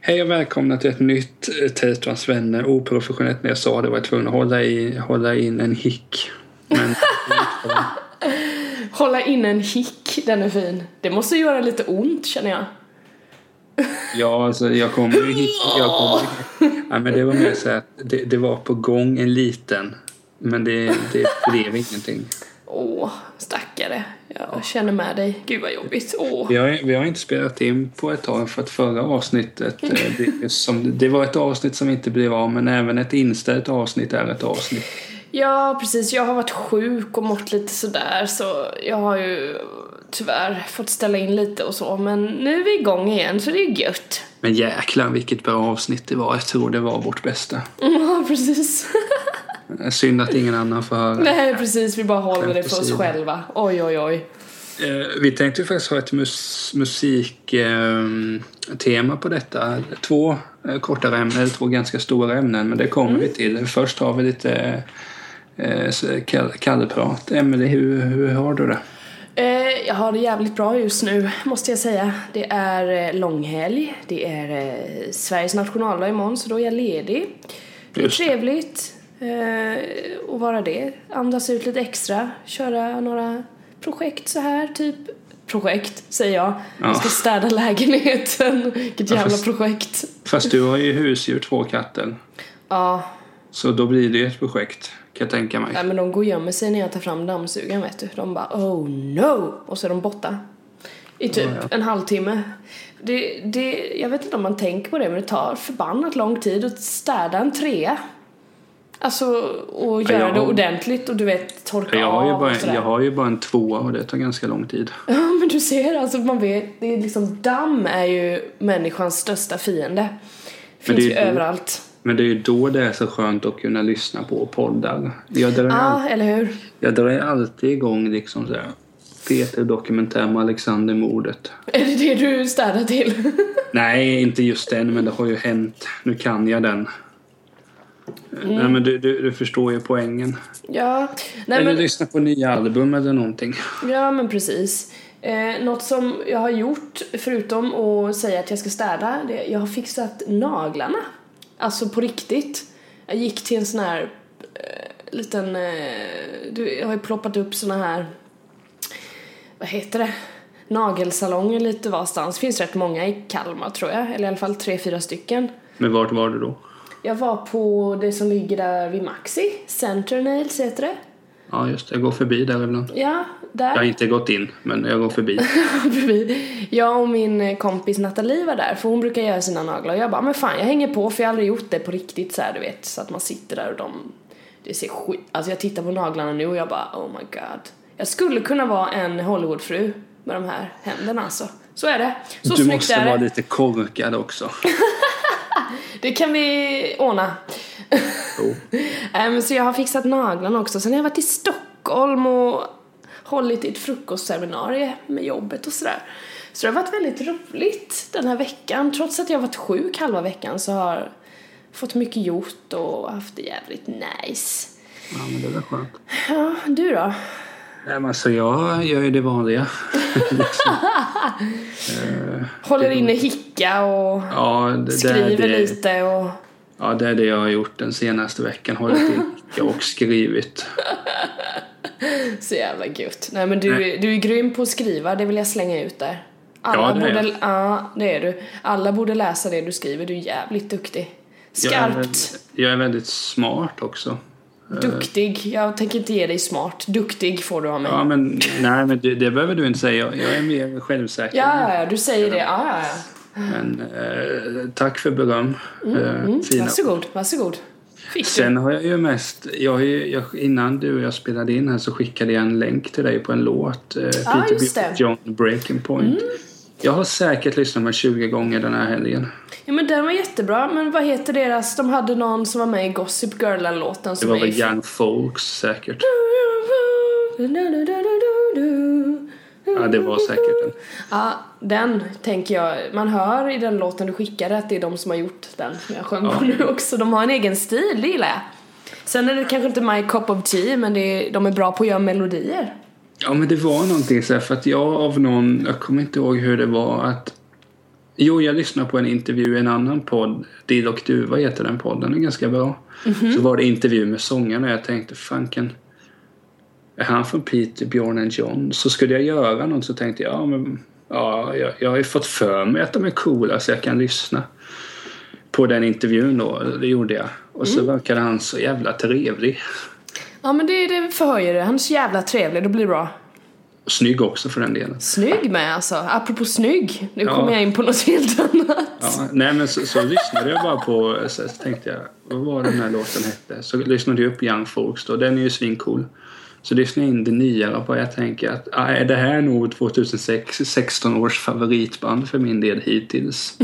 Hej och välkomna till ett nytt eh, Tetrans vänner. Oprofessionellt när jag sa det var jag tvungen att hålla, i, hålla in en hick. Men Hålla in en hick, den är fin. Det måste göra lite ont känner jag. ja, alltså, jag kommer ju hick. Jag kommer, nej, men det var mer så här, att det, det var på gång en liten. Men det, det blev ingenting. Åh, stackare. Jag känner med dig. Gud vad jobbigt. Åh. Vi har, vi har inte spelat in på ett tag för att förra avsnittet, eh, det, som, det var ett avsnitt som inte blev av men även ett inställt avsnitt är ett avsnitt. Ja, precis. Jag har varit sjuk och mått lite sådär så jag har ju tyvärr fått ställa in lite och så men nu är vi igång igen så det är gött. Men jäklar vilket bra avsnitt det var. Jag tror det var vårt bästa. Ja, precis. Synd att ingen annan får höra. Nej, precis. Vi bara håller det för oss Skämt åsido. själva. Oj, oj, oj. Eh, Vi tänkte ju faktiskt ha ett mus- musiktema på detta. Två eh, kortare ämnen, eller två ganska stora ämnen, men det kommer Mm. vi till. Först har vi lite eh, s- kall- kalleprat. Emelie, hur, hur har du det? Eh, jag har det jävligt bra just nu, måste jag säga. Det är eh, långhelg, det är eh, Sveriges nationaldag imorgon, så då är jag ledig. Det är Just det. trevligt eh, att vara det. Andas ut lite extra, köra några projekt så här, typ. Projekt, säger jag. Ja. Jag ska städa lägenheten. Vilket jävla fast- projekt. Fast du har ju husdjur, två katter. Ja, Så då blir det ju ett projekt, kan jag tänka mig. nej, men de går och gömmer sig när jag tar fram dammsugaren, vet du. De bara oh no! Och så är de borta. I typ en halvtimme. Det, det, jag vet inte om man tänker på det, men det tar förbannat lång tid att städa en trea. Alltså, och göra jag- det ordentligt och du vet, torka Jag har, ju av bara, och sådär. jag har ju bara en tvåa och det tar ganska lång tid. Ja men du ser alltså man vet, det är liksom damm är ju människans största fiende. Men Finns det är ju ju dumt. överallt. Men det är ju då det är så skönt att kunna lyssna på poddar. Jag drar, ju Ja, all, ah, eller hur? jag drar ju alltid igång liksom så här. Peter Dokumentär om Alexandermordet. Är det det du städar till? Nej, inte just den, men det har ju hänt. Nu kan jag den. Mm. Nej, men du, du, du förstår ju poängen. ja. Nej, eller men, lyssna på nya album eller någonting. ja men precis. Eh, något som jag har gjort, förutom att säga att jag ska städa, det, jag har fixat naglarna. Alltså på riktigt. Jag gick till en sån här eh, liten, eh, du, jag har ju ploppat upp såna här vad heter det, nagelsalonger lite varstans. Finns rätt många i Kalmar tror jag, eller i alla fall tre, fyra stycken. Men vart var du då? Jag var på det som ligger där vid Maxi, Center Nails heter det. Ja, just det. Jag går förbi där ibland. Ja, där. Jag har inte gått in, men jag går förbi. bredvid. Jag och min kompis Nathalie var där för hon brukar göra sina naglar och jag bara men fan jag hänger på för jag har aldrig gjort det på riktigt så här, du vet så att man sitter där och de det ser skit alltså jag tittar på naglarna nu och jag bara oh my god jag skulle kunna vara en Hollywoodfru med de här händerna alltså så är det så du snyggt måste är vara det lite korkad också. det kan vi ordna Jo. Ehm, så jag har fixat naglarna också sen har jag varit i Stockholm och hållit i ett frukostseminarium med jobbet och sådär. Så det har varit väldigt roligt den här veckan. Trots att jag har varit sjuk halva veckan så har jag fått mycket gjort och haft det jävligt nice. Ja, men det var skönt. Ja, du då? Nej, men alltså jag gör ju det vanliga. Håller inne hicka och Ja, det, det, är skriver det, lite och... ja, det är det jag har gjort den senaste veckan. Hållit in ficka och skrivit. Så jävla gött. Nej men du, Nej. är- du är grym på att skriva, det vill jag slänga ut där. Alla Ja, det är borde, jag. Ja, det är du. Alla borde läsa det du skriver, du är jävligt duktig. Jag är, väl- Skarpt, jag är väldigt smart också. eh, duktig. Jag tänker inte ge dig smart. Duktig får du av mig. Ja, Ja, men nej, men det, det behöver du inte säga. Jag, jag är mer självsäker. ja, ja, du säger det. Ja, ja, ja. Men eh, tack för beröm. eh, fina. Mm, Varsågod, varsågod. Fick du? Sen har jag ju mest, jag har ju, jag, innan du och jag spelade in här så skickade jag en länk till dig på en låt. Eh, Peter Buck, just det. Mm. John Breaking Point. Jag har säkert lyssnat med 20 gånger den här helgen. Ja men den var jättebra, men vad heter deras? De hade någon som var med i Gossip Girl-låten Det som var är... väl Young Folks säkert. Du, du, du, du, du, du, du. Ja, det var säkert en. Ja, den tänker jag. Man hör i den låten du skickade att det är de som har gjort den. Jag sjöng på nu också. De har en egen stil, det gillar jag. Sen är det kanske inte my cup of tea, men det är, de är bra på att göra melodier. Ja, men det var någonting så här, för att jag av någon, jag kommer inte ihåg hur det var att Jo, jag lyssnade på en intervju i en annan podd. Dill och Duva heter den podden, den är ganska bra. Så var det intervju med sångarna och jag tänkte, fanken, är han från Peter, Björn and John? Så skulle jag göra något så tänkte jag, ja, men, ja jag, jag har ju fått för mig att de är coola så jag kan lyssna på den intervjun då. Det gjorde jag. Och så verkade han så jävla trevlig. Ja, men det, det förhöjer det. Han är så jävla trevlig, då blir det bra. Snygg också för den delen. Snygg med alltså. Apropå snygg, nu Ja. kommer jag in på något helt annat. Ja, nej men så, så lyssnade jag bara på, så, så tänkte jag, vad var den här låten hette? Så lyssnade jag upp Young Folks då, den är ju svincool. Så lyssnade jag in det nyare på, jag tänker att ah, är det här är nog 2016 års favoritband för min del hittills.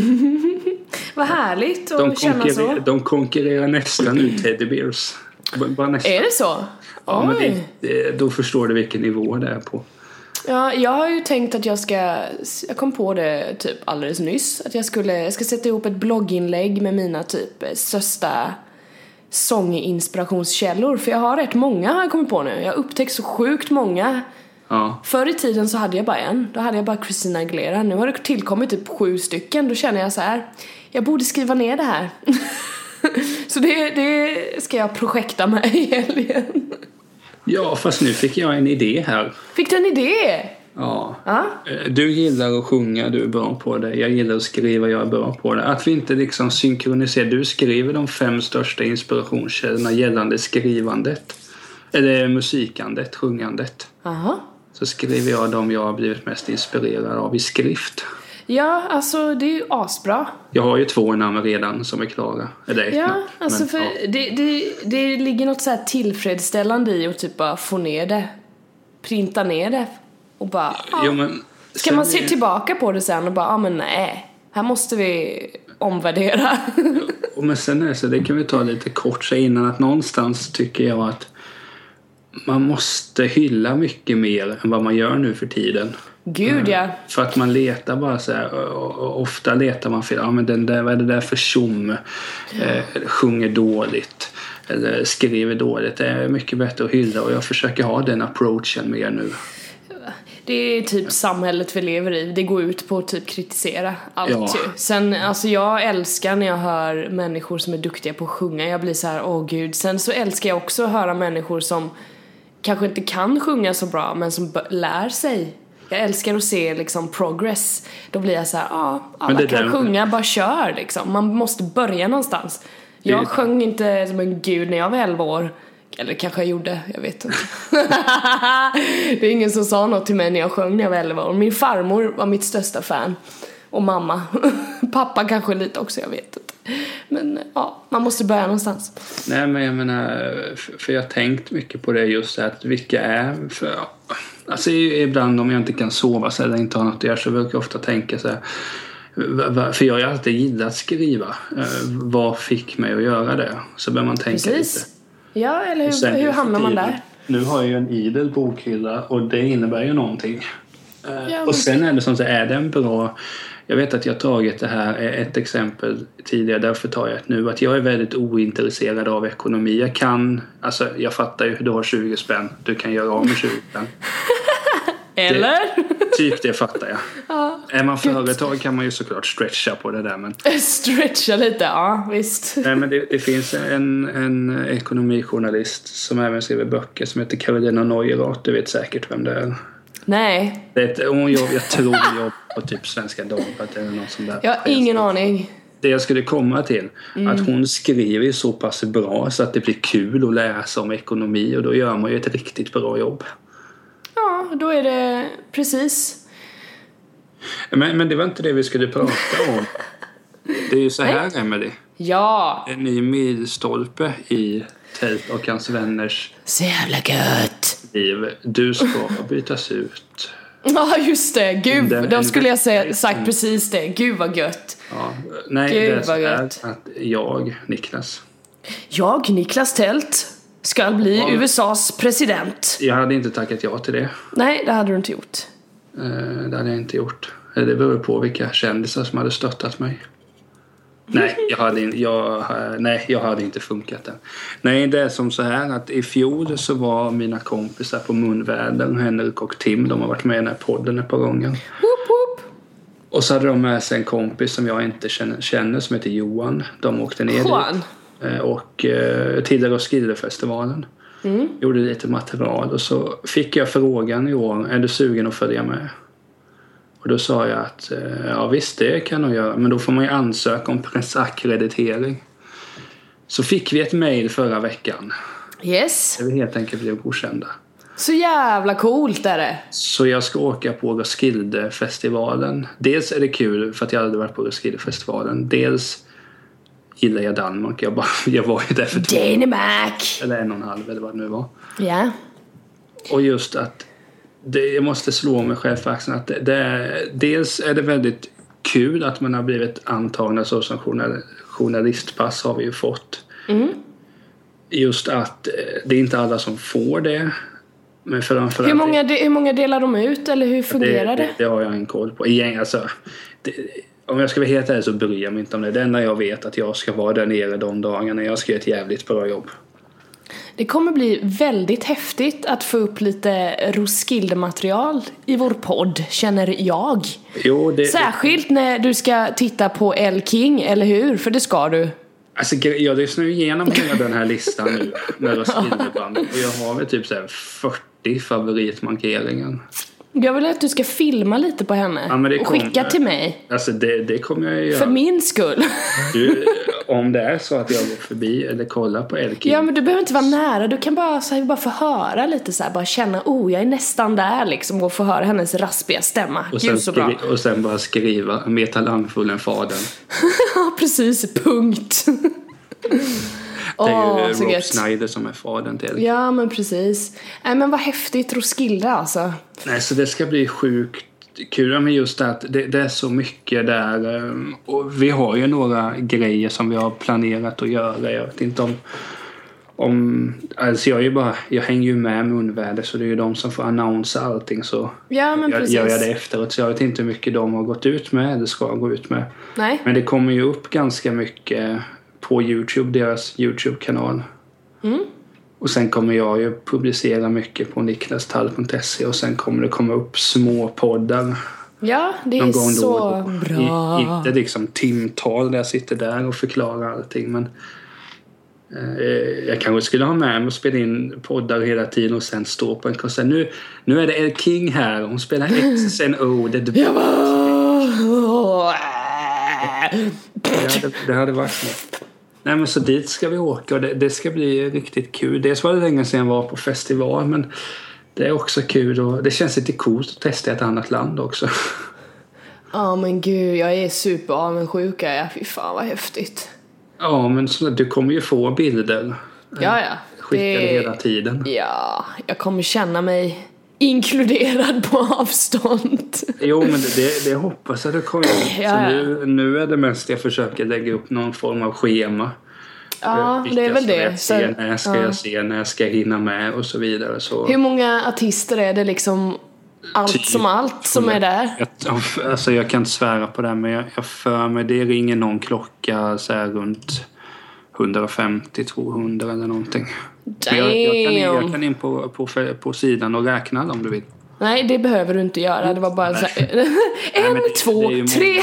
Vad härligt att De, känna så. konkurrer, de konkurrerar nästan ut Teddy Bears. B- Bara nästan. Är det så? Ja, men Oj. det, det, då förstår du vilken nivå det är på. Ja, jag har ju tänkt att jag ska, jag kom på det typ alldeles nyss, att jag skulle, jag ska sätta ihop ett blogginlägg med mina typ största sånginspirationskällor, för jag har rätt många har jag kommit på nu. Jag har upptäckt så sjukt många. Ja, Förr i tiden så hade jag bara en, då hade jag bara Christina Aguilera. Nu har det tillkommit typ sju stycken, då känner jag så här, jag borde skriva ner det här. så det, det ska jag projekta med i helgen. ja fast nu fick jag en idé här. Fick du en idé? Ja, Ja. Eh, Du gillar att sjunga, du är bra på det. Jag gillar att skriva, jag är bra på det. Att vi inte liksom synkroniserar. Du skriver de fem största inspirationskällorna gällande skrivandet. Eller musikandet, sjungandet. Aha. Så skriver jag de jag har blivit mest inspirerad av i skrift. Ja, alltså det är ju asbra. Jag har ju två namn redan som är klara. Eller ett namn, Ja, men, alltså för ja. Det, det, det ligger något så här tillfredsställande i att typ bara få ner det. Printa ner det. Och bara, ja. Jo, men, Ska sen man se är- tillbaka på det sen och bara, ja ah, men nej. Här måste vi omvärdera. Och men sen är det så, det kan vi ta lite kort så innan, att någonstans tycker jag att man måste hylla mycket mer än vad man gör nu för tiden. Mm. Gud ja. För att man letar bara så här, och- och ofta letar man fel. Ja, men den där, vad är det där för tjom? Eh, sjunger dåligt. Eller skriver dåligt. Det är mycket bättre att hylla och jag försöker ha den approachen mer nu. Det är typ samhället vi lever i. Det går ut på att typ kritisera allt Ja. ju. Sen, alltså jag älskar när jag hör människor som är duktiga på att sjunga. Jag blir så här, åh gud. Sen så älskar jag också att höra människor som kanske inte kan sjunga så bra, men som b- lär sig. Jag älskar att se liksom progress. Då blir jag så här, ja, alla Men det kan där- sjunga, bara kör liksom. Man måste börja någonstans. Det- Jag sjöng inte som en gud när jag var 11 år. Eller kanske jag gjorde, jag vet inte. det är ingen som sa något till mig när jag sjöng när jag var 11 år. Min farmor var mitt största fan. Och mamma. Pappa kanske lite också, jag vet inte. Men ja, man måste börja någonstans. Nej, men jag menar, för- för jag har tänkt mycket på det just att vilka är för... Alltså ibland om jag inte kan sova så eller inte har något att göra så brukar jag ofta tänka så här. va- va- För jag har ju alltid gillat skriva. Eh, Vad fick mig att göra det? Så bör man tänka lite. Precis. Ja, eller hur, hur hamnar man där? Nu har jag ju en idel bokhylla och det innebär ju någonting. Eh, Ja, men- Och sen är det som så här, är det en bra... Jag vet att jag har tagit det här, eh, ett exempel tidigare, därför tar jag ett nu. Att jag är väldigt ointresserad av ekonomi. Jag kan, alltså jag fattar ju, du har 20 spänn, du kan göra av med 20 spänn. Eller? Typ det fattar jag. Är man företag kan man ju såklart stretcha på det där men Stretcha lite, ja visst. Nej, men det, det finns en, en ekonomijournalist som även skriver böcker som heter Carolina Neurath. Du vet säkert vem det är. Nej, Det är ett, hon jobb, jag tror hon jobbar på typ Svenska Dagbladet eller något sånt där. jag har ingen Mm. aning. Det jag skulle komma till, att hon skriver ju så pass bra så att det blir kul att läsa om ekonomi och då gör man ju ett riktigt bra jobb. Ja, då är det precis. Men, men det var inte det vi skulle prata om. Det är ju så här, Emelie. Ja! En ny milstolpe i Tate och hans vänners Så jävla gött! liv. Du ska bytas ut. Ja, just det. Gud, Den- då skulle jag säga, sagt precis det. Gud vad gött. Ja, nej, Gud, det är vad så här gött. att jag, Niklas, Jag, Niklas Tält, ska bli Ja. USAs president. jag hade inte tackat ja till det. Nej, det hade du inte gjort. Eh, det hade jag inte gjort. Eller Det beror på vilka kändisar som hade stöttat mig. Nej, jag hade, in- jag, eh, nej, jag hade inte funkat den. Nej, det är som så här att i fjol så var mina kompisar på Munvädern, Henrik och Tim, de har varit med i den här podden ett par gånger. Whoop, whoop. Och så hade de med sig en kompis som jag inte känner, känner som heter Johan. De åkte ner Juan. dit eh, och eh, tidigare och Skillefestivalen. Gjorde lite material och så fick jag frågan i år, är du sugen att följa med? Och då sa jag att eh, ja visst det kan jag göra men då får man ju ansöka om pressackreditering. Så fick vi ett mejl förra veckan Yes. där vi helt enkelt blev godkända. Så jävla coolt är det. Så jag ska åka på Roskildefestivalen. Dels är det kul för att jag aldrig varit på Roskildefestivalen. Dels gillar jag Danmark. Jag, bara, jag var ju där för två, Danmark. eller en och en halv eller vad det nu var. Ja. Och just att det, jag måste slå mig själv för axeln att det, det är, dels är det väldigt kul att man har blivit antagna så som journal, journalistpass har vi ju fått. Mm. Just att eh, det är inte alla som får det. Men framförallt... Hur många, de- hur många delar de ut eller hur fungerar det? Det har jag ingen koll på. Igen, alltså, det, om jag ska vara helt ärlig så bryr jag mig inte om det. Det enda jag vet är att jag ska vara där nere de dagarna. Jag ska göra ett jävligt bra jobb. Det kommer bli väldigt häftigt att få upp lite Roskilde-material i vår podd, känner jag. Jo, det, Särskilt när du ska titta på El King, eller hur? För det ska du. alltså, gre- jag lyssnar ju igenom hela den här listan nu med Roskildeband. Och jag har väl typ så här 40 favoritmarkeringar. Jag vill att du ska filma lite på henne Ja, men det och skicka kommer. till mig. Alltså det, det kommer jag ju För göra. min skull. Du, om det är så att jag går förbi eller kollar på Elkin. ja men du behöver inte vara nära, du kan bara, så här, bara få höra lite så här, bara känna oh jag är nästan där liksom och få höra hennes raspiga stämma. och, sen Gud så bra. skri- och sen bara skriva metalangfullen fadern. Ja precis, punkt. Det är Åh, ju så Rob gött. Snyder som är fadern till Elkin. Ja men precis. Nej men vad häftigt, Roskilde alltså. Nej, så det ska bli sjukt kul. Ja, Men just det att det, det är så mycket där. ehm, Och vi har ju några grejer som vi har planerat att göra. Jag vet inte om... om alltså jag, är ju bara, jag hänger ju med munväder så det är ju de som får annonsa allting. Så Ja men jag, precis. gör jag det efteråt. Så jag vet inte hur mycket de har gått ut med eller ska gå ut med. Nej. Men det kommer ju upp ganska mycket på Youtube, deras Youtube-kanal. Mm. Och sen kommer jag ju publicera mycket på niklastall.se och sen kommer det komma upp små poddar Ja, det är någon gång så då och då. bra. I, inte liksom timtal där jag sitter där och förklarar allting men eh, jag kanske skulle ha med mig och spela in poddar hela tiden och sen stå på en konsert. Nu, nu är det El King här, hon spelar X, sen O, det, det, Jag bara... hade, det hade varit något. Nej men så dit ska vi åka och det, det ska bli riktigt kul. Dels var det länge sedan jag var på festival men det är också kul och det känns lite coolt att testa ett annat land också. Ja men gud, jag är superavundsjuk är jag. Fy fan vad häftigt. Ja men så, du kommer ju få bilder Ja ja. skickade Det- Mm. hela tiden. Ja, jag kommer känna mig inkluderad på avstånd. Jo, men det- det, det hoppas jag det kommer. Så ja. nu, nu är det mest jag försöker lägga upp någon form av schema. Ja, Vilka det är väl ska det. Jag se, Sen, när ska jag se, när ska jag hinna med och så vidare. Så hur många artister är det liksom allt Typ. som allt som är där? jag, alltså jag kan inte svära på det, men jag, jag för mig det ringer någon klocka så här runt 150-200 eller någonting. Men Jag, jag, kan in, jag Damn! kan in på, på, på sidan och räkna om du vill. Nej, det behöver du inte göra. Det var bara så här, Nej, En, men det- två, det är ju tre!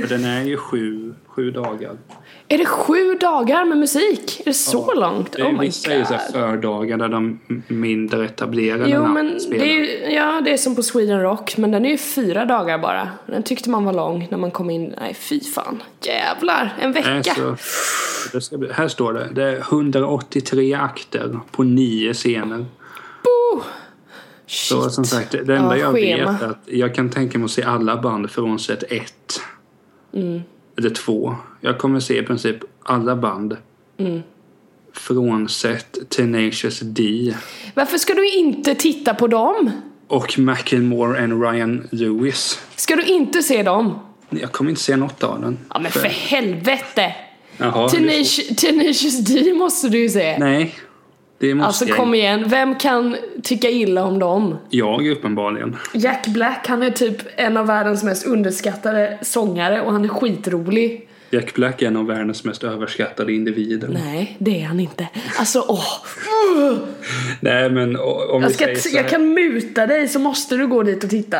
För den är ju sju, sju dagar. Är det sju dagar med musik? Är det så långt? Det är Oh my vissa är ju så här god. fördagar där de mindre etablerade Jo namnen men det spelar. är, ju- ja, det är som på Sweden Rock, men den är ju fyra dagar bara. Den tyckte man var lång när man kom in. Nej fy fan. Jävlar, en Nej, vecka. så, det ska bli, här står det. Det är 183 akter på nio scener. Bo! Så Shit. som sagt, det enda Ja, jag schema. vet är att jag kan tänka mig att se alla band frånsett ett. Mm. Eller två. Jag kommer se i princip alla band. Mm. Frånsett Tenacious D. Varför ska du inte titta på dem? Och Macklemore and Ryan Lewis. Ska du inte se dem? Jag kommer inte se något av den. Ja men för helvete! Jaha, vi får- Tenacious, Tenacious D måste du ju se. Nej. Det måste Alltså jag. kom igen, vem kan tycka illa om dem? Jag uppenbarligen. Jack Black, han är typ en av världens mest underskattade sångare och han är skitrolig. Jack Black är en av världens mest överskattade individer. Nej, Nej, det är han inte. Alltså åh! men o- om Jag, vi ska, säger så här, jag kan muta dig så måste du gå dit och titta.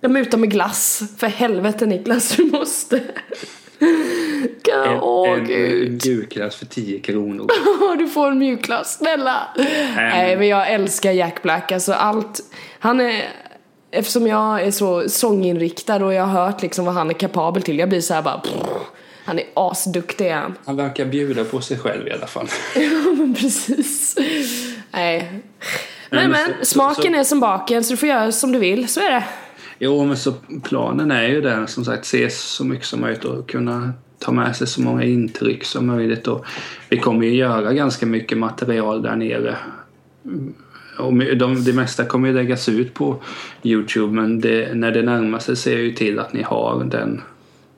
Jag mutar med glass. För helvete Niklas, du måste. en, Kan, åh en gud. mjukglass för 10 kronor. Du får en mjukglass, snälla. men- Nej men jag älskar Jack Black, alltså allt. Han är... Eftersom jag är så sånginriktad och jag har hört liksom vad han är kapabel till. Jag blir så här bara... pff, han är asduktig är han. Han verkar bjuda på sig själv i alla fall. Ja, men precis. Nej. Men men men, så- så- smaken så- är som baken så du får göra som du vill, så är det. Jo, men så planen är ju den som sagt, se så mycket som möjligt och kunna ta med sig så många intryck som möjligt. Och vi kommer ju göra ganska mycket material där nere. Mm, Och my- de, det mesta kommer ju läggas ut på Youtube men det, när det närmar sig ser jag ju till att ni har den.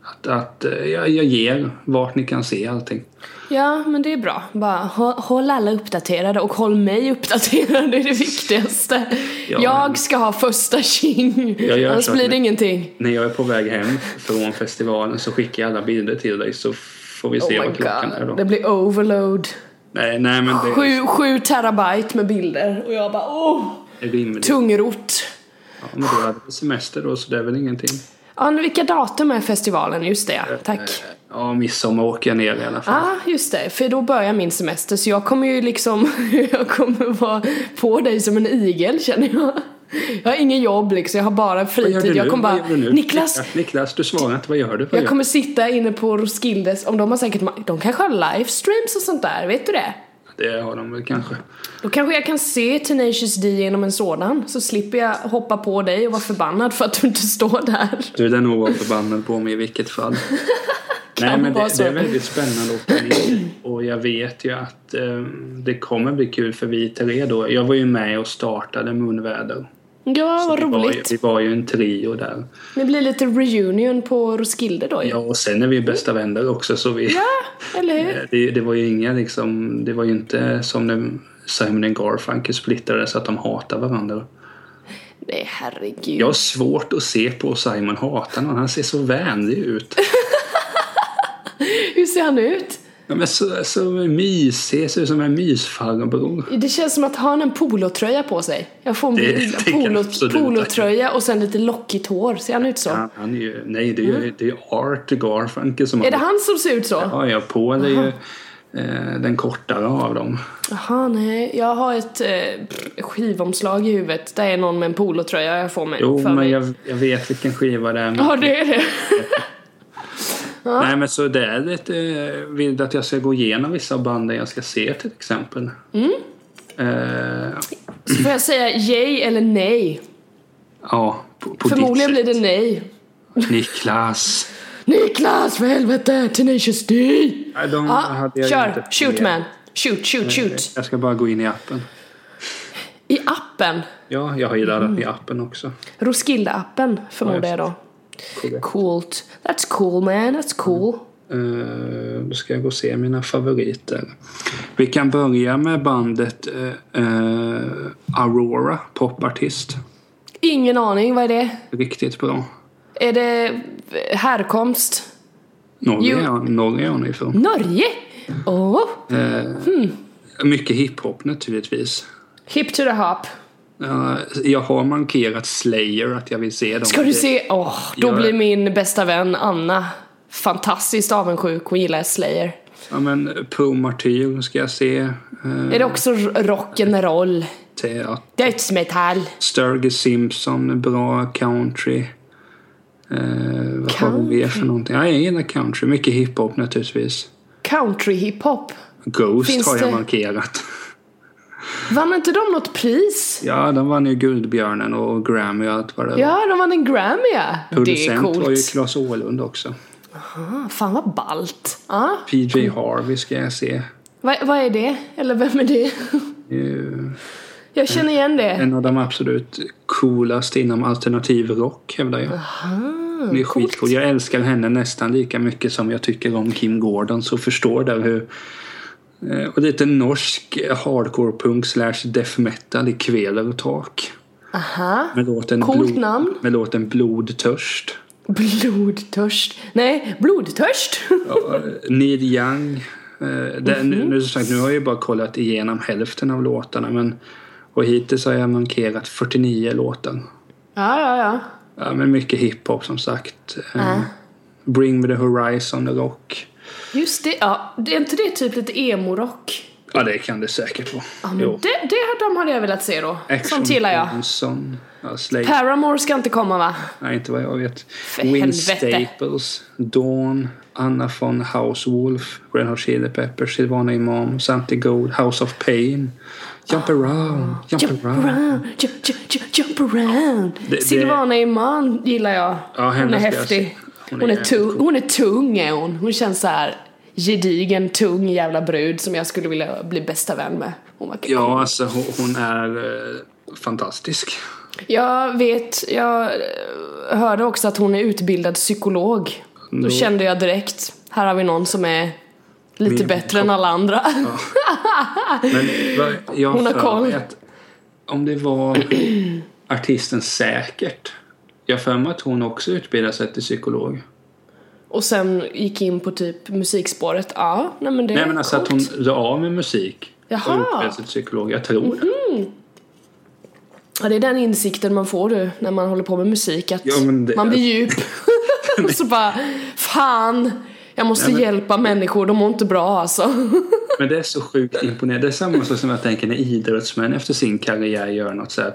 Att, att eh, jag, jag ger vart ni kan se allting. Ja, men det är bra. Bara hå- håll alla uppdaterade och håll mig uppdaterad, det är det viktigaste. Ja, men- jag ska ha första tjing, Jag gör annars så att blir det ni- ingenting. När jag är på väg hem från festivalen så skickar jag alla bilder till dig så får vi se Oh my vad klockan är god, då. det blir overload. Nej, nej men det är Sju, sju terabyte med bilder och jag bara åh, rimligt. tungrot. Ja, men du hade semester då, så det är väl ingenting. Ja, men vilka datum är festivalen? Just det, ja. tack. Eh, Ja, midsommar åker jag ner i alla fall. Ja, ah, just det. För då börjar min semester så jag kommer ju liksom, jag kommer vara på dig som en igel känner jag. Jag har ingen jobb liksom, jag har bara Vad gör du fritid. nu? Jag kommer Vad gör bara, du nu? Niklas, Niklas, du svarar inte. Vad gör du? Vad jag gör kommer sitta inne på Roskildes, om de har säkert, de kanske har livestreams och sånt där, vet du det? du? Det har de väl kanske. Då kanske jag kan se Tenacious D genom en sådan, så slipper jag hoppa på dig och vara förbannad för att du inte står där. Du lär nog vara förbannad på mig i vilket fall. Nej, men vara det, så. det är väldigt spännande att planera. Och jag vet ju att eh, det kommer bli kul för vi tre då. Jag var ju med och startade Munväder. Ja, vad Vi var, ju, roligt. vi var ju en trio där. Det blir lite reunion på Roskilde då ju. Ja, och sen är vi bästa vänner också så vi... Ja, eller hur? Eh, Det, det var ju inga liksom, det var ju inte som när Simon and Garfunkel splittrades att de hatar varandra. Nej, herregud. Jag har svårt att se på Simon hata någon, han ser så vänlig ut. Hur ser han ut? Ja, men så, så mysig, ser ut som en mysfarbror. Det känns som att har han en polotröja på sig? Jag får en Det bild. tänker jag Polo, absolut att- polotröja och sen lite lockigt hår. Ser han ut så? Han, han är ju, nej det är ju det är ju Art Garfunkel som Mm. Är det han som ser ut så? Ja, ja, Paul är ju eh, den kortare av dem. Jaha, nej. Jag har ett eh, skivomslag i huvudet. Där är någon med en polotröja jag får mig. Jo, för men mig. jag, jag vet vilken skiva det är. men- Ja, det är det. Nej, men så det är lite... eh, Vill du att jag ska gå igenom vissa banden jag ska se till exempel? Mm. Eh, Så får jag säga yay eller nej. ja, på, på Förmodligen ditt blir det nej. sätt. Niklas! Niklas, för helvete! Tenacious D! Nej, de Ja, hade jag ju kör. inte Shoot planerat. man. Shoot, shoot, shoot. Jag ska bara gå in i appen. I appen. Ja, jag har ju Mm. laddat ner appen också. Roskilde-appen förmodar Ja, jag då. Korrekt. Coolt. That's cool man, that's cool. Eh, då ska jag gå och se mina favoriter. Vi kan börja med bandet eh, eh, Aurora, popartist. Ingen aning, vad är det? Riktigt bra. Är det eh, härkomst? Norge Jo. är han- Norge är han ifrån. Norge? Åh! Mycket hiphop naturligtvis. Hip to the hop. Ja, Eh, jag har markerat Slayer att jag vill se dem. Ska du se? Åh, då Ja. blir min bästa vän Anna fantastiskt avundsjuk. Hon gillar Slayer. Ja, men Pro Martyr ska jag se. Eh, Är det också r- rock'n'roll? till att Dödsmetall? Sturgis Simpson är bra. Country. Eh, vad har vi mer för någonting? Ja, jag gillar country. Mycket hiphop naturligtvis. Country hiphop? Ghost Finns har jag det- markerat. Vann inte de något pris? Ja, de vann ju Guldbjörnen och Grammy och allt vad det var. Ja, de vann en Grammy ja. Det är Producent var ju coolt. Claes Åhlund också. Ah, fan vad ballt. Ah. PJ Harvey ska jag se. Vad, vad är det? Eller vem är det? Det är ju Jag känner igen det. En av de absolut coolaste inom alternativ rock hävdar jag. Hon är coolt. skitcool. Jag älskar henne nästan lika mycket som jag tycker om Kim Gordon. Så förstår du hur Eh, Och lite norsk hardcore punk slash death metal i kväll och tak. Aha. Med låten, Coolt namn. med låten Blodtörst. Blodtörst. Nej, blodtörst! Ja, eh, Neil Young. eh, Mhm. Den, nu, nu, som sagt, nu har jag ju bara kollat igenom hälften av låtarna. Men, och hittills har jag markerat 49 låtar. ja, ja, ja. Ja, men mycket hiphop som sagt. Eh, Bring me the horizon, the rock. Just det, ja. Det är inte det typ lite emo-rock? Ja, det kan det säkert vara. Ja, men det, det, de hade jag velat se då. Sånt gillar jag. Johnson. Ja, Slade. Paramore ska inte komma va? Nej, inte vad jag vet. För Win helvete. Staples, Dawn, Anna von Housewolf, Red Hot Chili Peppers, Silvana Imam, Santi Gold, House of Pain. Jump around, jump Jump around. around, jump, jump, jump, jump around. Det- det- Silvana Imam gillar jag. Ja, henne hon är ska jag se. häftig. Hon Hon är är, jävligt tung, hon är tung är hon. Hon känns så här gedigen, tung jävla brud som jag skulle vilja bli bästa vän med. Hon var kul. Ja, alltså hon, hon är eh, fantastisk. Jag vet, jag eh, hörde också att hon är utbildad psykolog. Då kände jag direkt, här har vi någon som är lite Min bättre än alla andra. Men vad- jag Hon har för koll. mig Att, om det var artisten Säkert. Jag har för mig att hon också utbildade sig till psykolog. Och sen gick in på typ musikspåret. Ja, nej men det Nej men alltså coolt. att hon la av med musik. Jaha. Mhm. Och utbildade sig till psykolog. Jag tror det. Ja, det är den insikten man får du när man håller på med musik att Ja, men det- man blir djup. och så bara fan, jag måste Nej, men- hjälpa människor, de mår inte bra alltså. Men det är så sjukt imponerande. Det är samma sak som jag tänker när idrottsmän efter sin karriär gör något så här.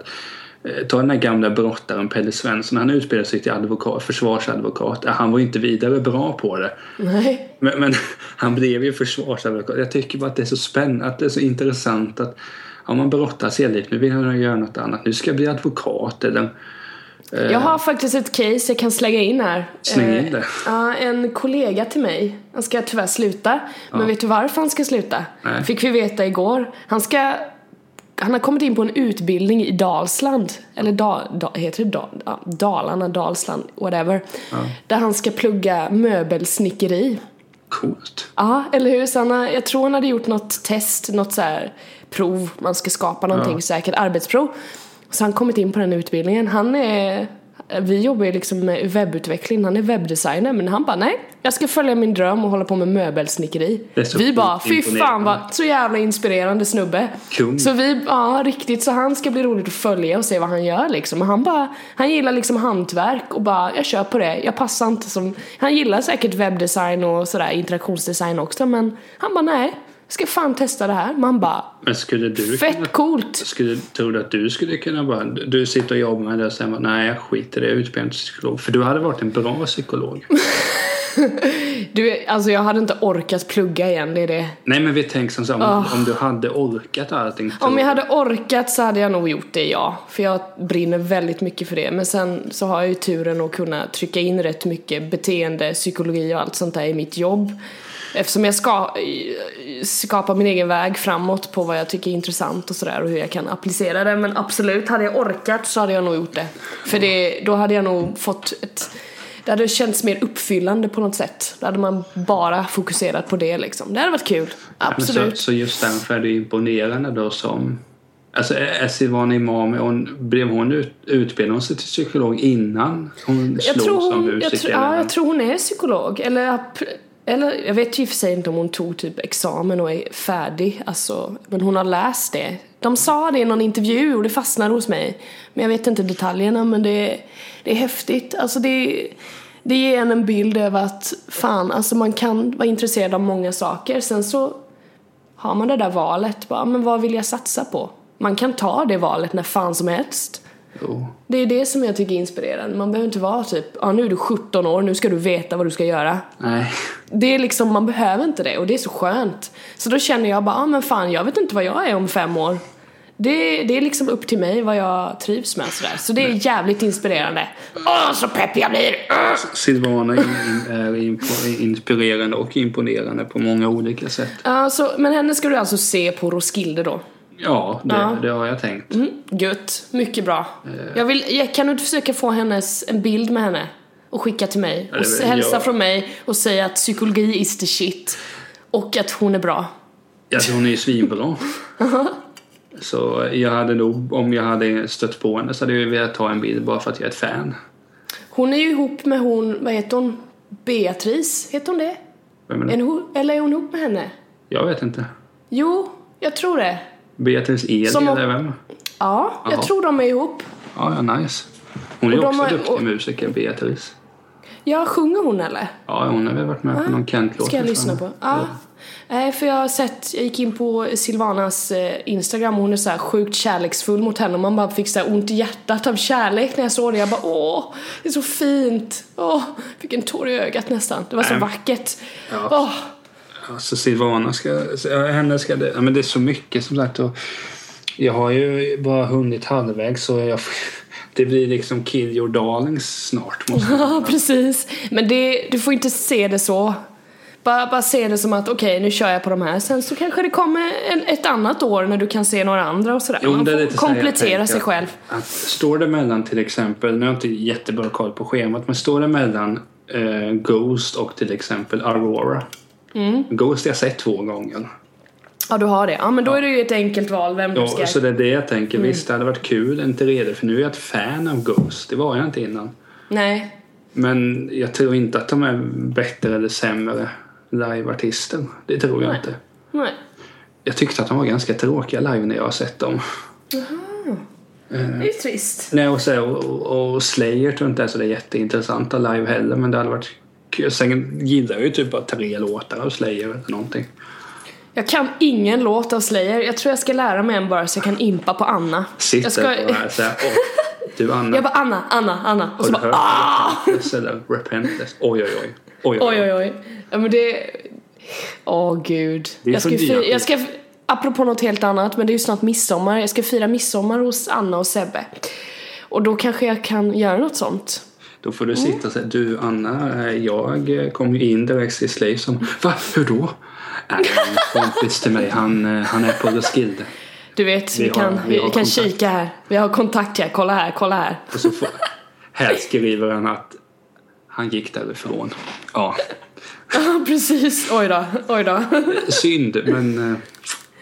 eh, Ta den här gamla brottaren Pelle Svensson. Han utbildade sig till advokat, försvarsadvokat. Ja, Han var ju inte vidare bra på det. nej. Men, men han blev ju försvarsadvokat. Jag tycker bara att det är så spännande, att det är så intressant att om man brottas hela livet, nu vill han göra något annat, nu ska jag bli advokat eller Jag har faktiskt ett case jag kan slänga in här. Eh. släng Eh, in det. Ja, en kollega till mig, han ska tyvärr sluta. Men vet du varför han ska sluta? Nej. Fick vi veta igår. Han ska, han har kommit in på en utbildning i Dalsland. Eller da, da, heter det da, ja, Dalarna, Dalsland, whatever. Där han ska plugga möbelsnickeri. Coolt. Ja, eller hur? Så han har, jag tror han hade gjort något test, något så här prov, man ska skapa någonting säkert, arbetsprov. Så han kommit in på den utbildningen. Han är, vi jobbar ju liksom med webbutveckling, han är webbdesigner men han bara nej, jag ska följa min dröm och hålla på med möbelsnickeri. Det är så Vi bara, fy imponerande. fan vad, så jävla inspirerande snubbe. Kung. Så vi, ja riktigt, så han ska bli roligt att följa och se vad han gör liksom. Och han bara, han gillar liksom hantverk och bara, jag kör på det, jag passar inte som, han gillar säkert webbdesign och sådär interaktionsdesign också men han bara nej, jag ska fan testa det här. Man bara, Men skulle du kunna, fett coolt! skulle, tror du att du skulle kunna bara, du sitter och jobbar med det och sen bara, nej jag skiter i det, jag är utbildad till psykolog. För du hade varit en bra psykolog. Du, alltså jag hade inte orkat plugga igen, det är det. nej men vi tänker som så, här, Ah. om, om du hade orkat allting. Om jag hade orkat så hade jag nog gjort det, ja. För jag brinner väldigt mycket för det. Men sen så har jag ju turen att kunna trycka in rätt mycket beteende, psykologi och allt sånt där i mitt jobb. Eftersom jag ska, skapar min egen väg framåt på vad jag tycker är intressant och sådär och hur jag kan applicera det. Men absolut, hade jag orkat så hade jag nog gjort det. För det, då hade jag nog fått ett... Det hade känts mer uppfyllande på något sätt. Då hade man bara fokuserat på det liksom. Det hade varit kul. Men Absolut. Så, så just därför är det imponerande då som... Alltså är är Silvana Imam, hon, blev hon ut, utbildade hon sig till psykolog innan hon jag slog tror som hon, jag, musiker? tror- ja, eller? jag tror hon är psykolog. Eller, app- eller jag vet ju i och för sig inte om hon tog typ examen och är färdig. Alltså, men hon har läst det. De sa det i någon intervju och det fastnade hos mig. Men jag vet inte detaljerna men det, det är häftigt. Alltså det, det ger en en bild över att fan, alltså man kan vara intresserad av många saker. Sen så har man det där valet, bara, men vad vill jag satsa på? Man kan ta det valet när fan som helst. Jo. Det är det som jag tycker är inspirerande. Man behöver inte vara typ, ja ah, nu är du 17 år, nu ska du veta vad du ska göra. Nej. Det är liksom, man behöver inte det och det är så skönt. Så då känner jag bara, ah, men fan jag vet inte vad jag är om fem år. Det, det är liksom upp till mig vad jag trivs med sådär. Så det är jävligt inspirerande. Åh, så peppig jag blir! Ah! Silvana in- in- är impo- inspirerande och imponerande på många olika sätt. Ja, så, men henne ska du alltså se på Roskilde då? Ja, det, Ja. det har jag tänkt. Mm, gött, mycket bra. Eh. Jag vill, jag, kan du inte försöka få hennes, en bild med henne? Och skicka till mig. Och det s- vill hälsa jag. från mig och säga att psykologi is the shit. Och att hon är bra. Alltså hon är ju svinbra. Så jag hade nog, om jag hade stött på henne så hade jag velat ta en bild bara för att jag är ett fan. Hon är ju ihop med hon, vad heter hon? Beatrice, heter hon det? Vem är Är det? hon, eller är hon ihop med henne? Jag vet inte. Jo, jag tror det. Beatrice Edel Som om- eller vem? Ja, jag Jaha. tror de är ihop. Ja, ja, nice. Hon är ju Och de också har- duktig och- musiker, Beatrice. Ja, sjunger hon eller? Ja, hon har väl varit med på någon Kent-låt. Ah, Ska jag tror lyssna på? Ja. Nej, för jag har sett, jag gick in på Silvanas eh, Instagram och hon är så här sjukt kärleksfull mot henne och man bara fick så här ont i hjärtat av kärlek när jag såg det. Jag bara åh, det är så fint. Åh, fick en tår i ögat nästan. Det var så Nej. vackert. Ja. Åh, Alltså Silvana ska... så- ja, Henne ska det... Ja, men det är så mycket som sagt. Och jag har ju bara hunnit halvvägs så jag... Det blir liksom kill your darlings snart. Måste jag. ja precis. Men det, du får inte se det så. Bara, bara se det som att okej, nu kör jag på de här. Sen så kanske det kommer en, ett annat år när du kan se några andra och sådär. Jo, men Man det är får lite så här jag tänker. komplettera sig själv. Att står det mellan till exempel, nu har jag inte jättebra koll på schemat, men står det mellan eh, Ghost och till exempel Aurora. Mm. Ghost har jag sett två gånger. Ja, du har det. Ja, men då är det ju ett enkelt val vem du ska... Ja, så det är det jag tänker. Mm. Visst, det hade varit kul, inte redo, för nu är jag ett fan av Ghost. Det var jag inte innan. Nej, Men jag tror inte att de är bättre eller sämre liveartister. Det tror jag Nej. inte. nej. Jag tyckte att de var ganska tråkiga live när jag har sett dem. Det är ju trist. Nej, och, så, och, och Slayer tror jag inte är så det är jätteintressanta live heller, men det hade varit kul. Sen gillar jag ju typ bara tre låtar av Slayer eller någonting. Jag kan ingen låt av Slayer. Jag tror jag ska lära mig en bara så jag kan impa på Anna. Sitter jag på det här så här, "Åh, du Anna, Jag bara Anna, Anna, Anna. Och så har du bara hört ah! Repentless eller Repentless? Oj, oj, oj. Oj, Oj, oj, oj. Ja men det... Åh gud. Det är Jag ska, för fira, nya jag ska... Apropå något helt annat, men det är ju snart midsommar. Jag ska fira midsommar hos Anna och Sebbe. Och då kanske jag kan göra något sånt. Då får du sitta och säga, du Anna, eh, jag eh, kom ju in direkt i Slave som, va, hur då? Nej, en kompis till mig, han, eh, han är på Roskilde. Du vet, vi, Vi har- kan, vi vi, har kan kontakt. kika här. Vi har kontakt här, kolla här, kolla här. Och så får, här skriver han att han gick därifrån. Ja, Ja, precis. Oj då, oj då. synd, men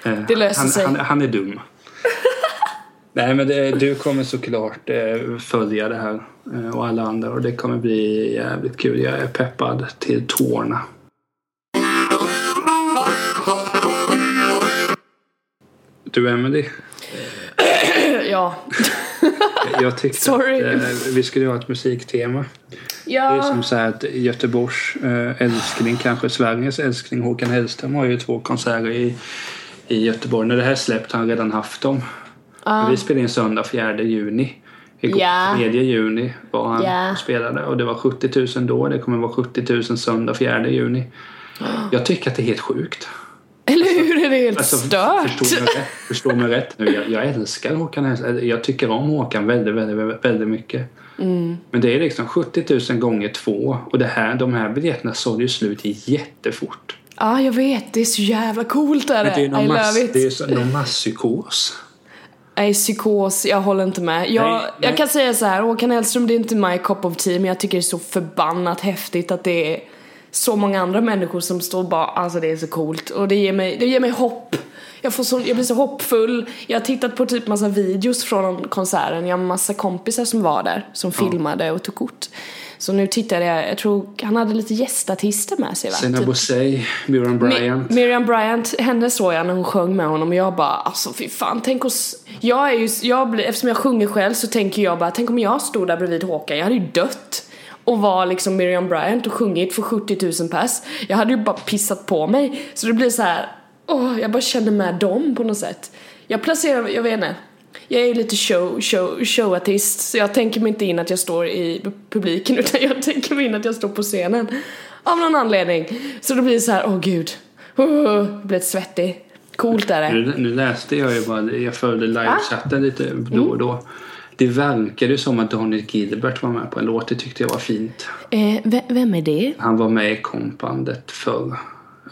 eh, eh, Det löser han, sig. Han, han är dum. Nej, men det, du kommer såklart eh, följa det här eh, och alla andra och det kommer bli jävligt kul. Jag är peppad till tårna. Du Emelie, Ja. jag tyckte Sorry. att eh, vi skulle ha ett musiktema. Det är Ja. som så här att Göteborgs eh, älskling, kanske Sveriges älskling Håkan Hellström har ju två konserter i, i Göteborg. När det här släppt har han redan haft dem. Men Vi spelade in söndag 4 juni. Igår Ja. 3 juni var han Ja. och spelade och det var 70 000 då. Det kommer vara 70 000 söndag 4 juni. Jag tycker att det är helt sjukt. Eller hur? Är det helt Alltså, Förstå stört? mig rätt, förstå mig rätt nu. Jag, jag älskar Håkan Hellström. Jag tycker om Håkan väldigt, väldigt, väldigt mycket. Men det är liksom 70 000 gånger två. Och det här, de här biljetterna sålde ju slut jättefort. Ja, jag vet. Det är så jävla coolt är det. Men det är ju någon, I mass, love it. det är ju så- någon masspsykos. Nej, psykos. Jag håller inte med. Jag, Nej, jag nej. kan säga så här. Håkan Hellström, det är inte my cup of tea, men jag tycker det är så förbannat häftigt att det är så många andra människor som står bara, alltså det är så coolt. Och det ger mig, det ger mig hopp. Jag, får så, jag blir så hoppfull. Jag har tittat på typ massa videos från konserten. Jag har massa kompisar som var där, som filmade och tog kort. Så nu tittade jag, jag tror han hade lite gästartister med sig va? Sena Typ- Bosey, Björn Bryant. Mi- Miriam Bryant, henne såg jag när hon sjöng med honom och jag bara alltså fy fan tänk oss Jag är ju, jag blir, eftersom jag sjunger själv så tänker jag bara tänk om jag stod där bredvid Håkan, jag hade ju dött och var liksom Miriam Bryant och sjungit för 70 000 pers Jag hade ju bara pissat på mig Så det blir så här. åh jag bara känner med dem på något sätt Jag placerar, jag vet inte jag är ju lite show, show, showartist så jag tänker mig inte in att jag står i publiken utan jag tänker mig in att jag står på scenen. Av någon anledning. Så då blir det så här, åh gud. Uh, jag blir lite svettig. Coolt är det. Nu, nu läste jag ju bara, jag följde livechatten lite då och då. Det verkade ju som att Daniel Gilbert var med på en låt. Det tyckte jag var fint. Eh, vem är det? Han var med i kompandet förr.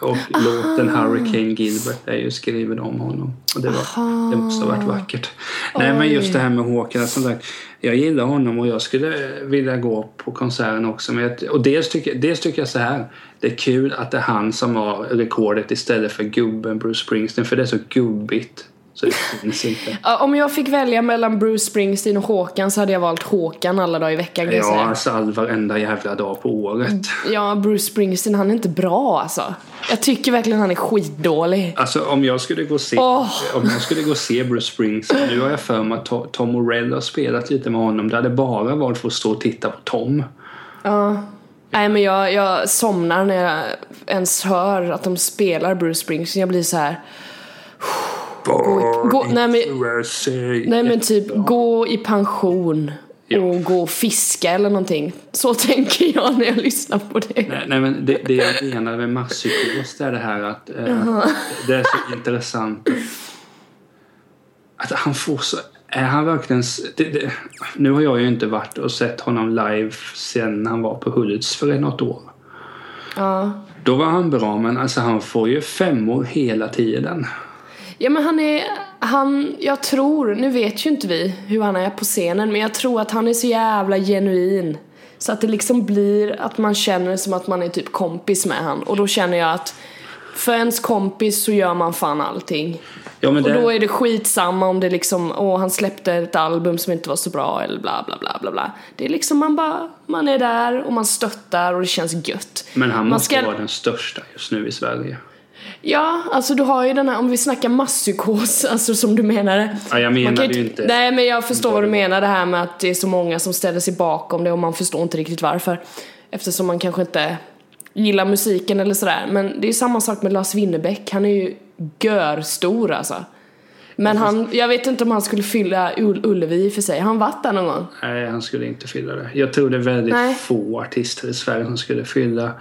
Och låten Hurricane Gilbert är ju skriven om honom. Och det, var, det måste ha varit vackert. Nej men just det här med Håkan, som sagt. Jag gillar honom och jag skulle vilja gå på konserten också. Men jag, och dels tycker, dels tycker jag så här. Det är kul att det är han som har rekordet istället för gubben Bruce Springsteen. För det är så gubbigt. Så det finns inte. Ja, Om jag fick välja mellan Bruce Springsteen och Håkan så hade jag valt Håkan alla dagar i veckan kan jag Ja, säga. alltså all varenda jävla dag på året. Ja, Bruce Springsteen han är inte bra alltså. Jag tycker verkligen han är skitdålig. Alltså om jag skulle gå och se, Åh. om jag skulle gå och se Bruce Springsteen. Nu har jag för mig att To- Tom Morell har spelat lite med honom. Det hade bara varit för att stå och titta på Tom. Nej men jag, jag somnar när jag ens hör att de spelar Bruce Springsteen. Jag blir så här. Gå- gå- nej, men- USA. Nej men typ gå i pension Ja. och gå och fiska eller någonting. Så tänker jag när jag lyssnar på det. Eh, Nej, nej, men det, det jag menar med masspsykos det är det här att eh, det är så intressant att han får så... Är han verkligen... s- Det, det, nu har jag ju inte varit och sett honom live sen han var på Hultsfred något år. Ja. Då var han bra, men alltså han får ju femmor hela tiden. Ja men han är, han, jag tror, nu vet ju inte vi hur han är på scenen men jag tror att han är så jävla genuin. Så att det liksom blir att man känner som att man är typ kompis med han och då känner jag att för ens kompis så gör man fan allting. Ja, men Och det, då är det skitsamma om det liksom, åh han släppte ett album som inte var så bra eller bla bla bla bla bla. Det är liksom man bara, man är där och man stöttar och det känns gött. men han måste ska- vara den största just nu i Sverige. Ja, alltså du har ju den här, om vi snackar masspsykos, alltså som du menade. Ja, jag Man kan menar ju ju inte- inte... Nej men jag förstår vad du menar det här med att det är så många som ställer sig bakom det och man förstår inte riktigt varför. Eftersom man kanske inte gillar musiken eller sådär. Men det är ju samma sak med Lars Winnerbäck, han är ju görstor alltså. Men han, jag vet inte om han skulle fylla Ull- Ullevi för sig. Har han varit där någon gång? Nej, han skulle inte fylla det. Jag tror det är väldigt Nej. få artister i Sverige som skulle fylla.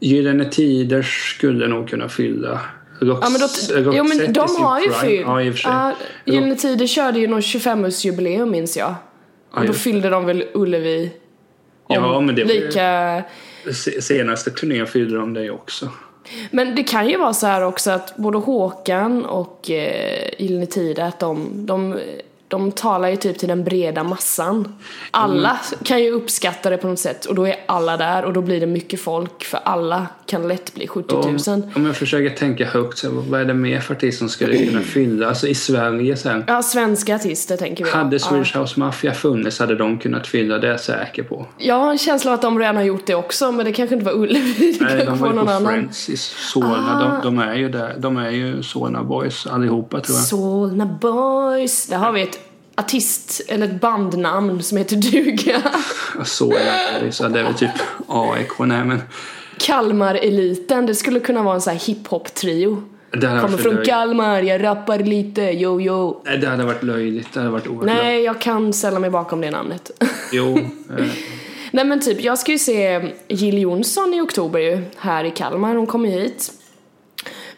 Gyllene Tider skulle nog kunna fylla. Rox, Ja men, då, jo, men Roxette i de sin har ju prime. fyllt. Ja, i och för sig. Ja, Gyllene Tider körde ju någon 25-årsjubileum minns jag. Och då just det. fyllde de väl Ullevi ja, men det var ju, lika... se- senaste turnén fyllde de det också. Men det kan ju vara så här också att både Håkan och eh, Gyllene Tider att de, de, de talar ju typ till den breda massan. Alla Mm. kan ju uppskatta det på något sätt och då är alla där och då blir det mycket folk för alla kan lätt bli 70 000. Om, om jag försöker tänka högt, så vad är det mer för artist som skulle kunna fylla? Alltså i Sverige så här. Ja, svenska artister tänker vi. Hade ja. Swedish House Mafia funnits hade de kunnat fylla, det är jag säker på. Jag har en känsla av att de redan har gjort det också men det kanske inte var Ullevi, det Nej, de kanske var var ju någon på annan. Ah. Friends i Solna. De, de är ju där. De är ju Solna Boys allihopa tror jag. Solna Boys. Där har vi ett artist, eller ett bandnamn som heter duga. Så är det. Så det är väl typ AIK. Nej, men Kalmar-eliten, det skulle kunna vara en sån här hiphop-trio. det hade, Kommer varit för från löjligt. Kalmar, jag rappar lite, yo yo. Nej, det hade varit löjligt. Det hade varit oerhört löjligt. Nej, jag kan ställa mig bakom det namnet. Jo, eh, Nej men typ, jag ska ju se Jill Johnson i oktober ju, här i Kalmar, hon kommer ju hit.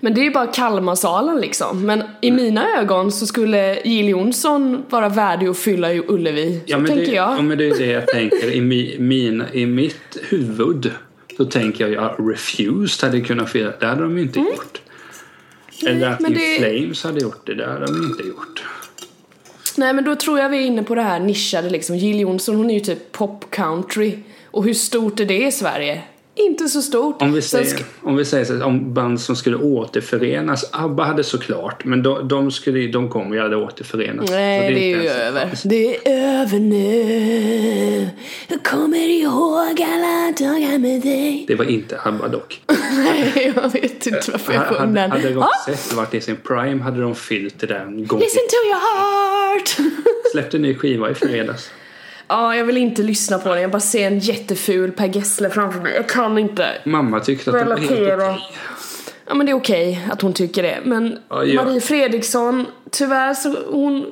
Men det är ju bara Kalmarsalen liksom. Men i Mm. mina ögon så skulle Jill Johnson vara värdig att fylla i Ullevi. Så ja, men tänker det, jag. Ja, men det är det jag tänker. I, mi, min, I mitt huvud så tänker jag att Refused hade kunnat fylla. Det hade de ju inte gjort. Eller att Mm. men In det- Flames hade gjort det. Det hade de inte gjort. Nej men då tror jag vi är inne på det här nischade liksom. Jill Johnson hon är ju typ pop country. Och hur stort är det i Sverige? Inte så stort. Om vi Sen säger, sk- om vi säger så här, om band som skulle återförenas. ABBA hade såklart, men de, de, skulle, ju- de kommer ju aldrig återförenas. Så Nej det är inte ju ens- över. Det är över nu. Jag kommer ihåg alla dagar med dig. Det var inte ABBA dock. Nej jag vet inte varför jag sjöng Eh, Hade, den. hade Ah, Roxette varit i sin prime hade de fyllt det där en gång. Listen to your heart! Släppte en ny skiva i fredags. Ja, jag vill inte lyssna på den. Jag bara ser en jätteful Per Gessle framför mig. Jag kan inte. Mamma tyckte att det var helt Relatera. okej. Ja men det är okej att hon tycker det. Men Ja, Ah, ja. Marie Fredriksson, tyvärr så hon,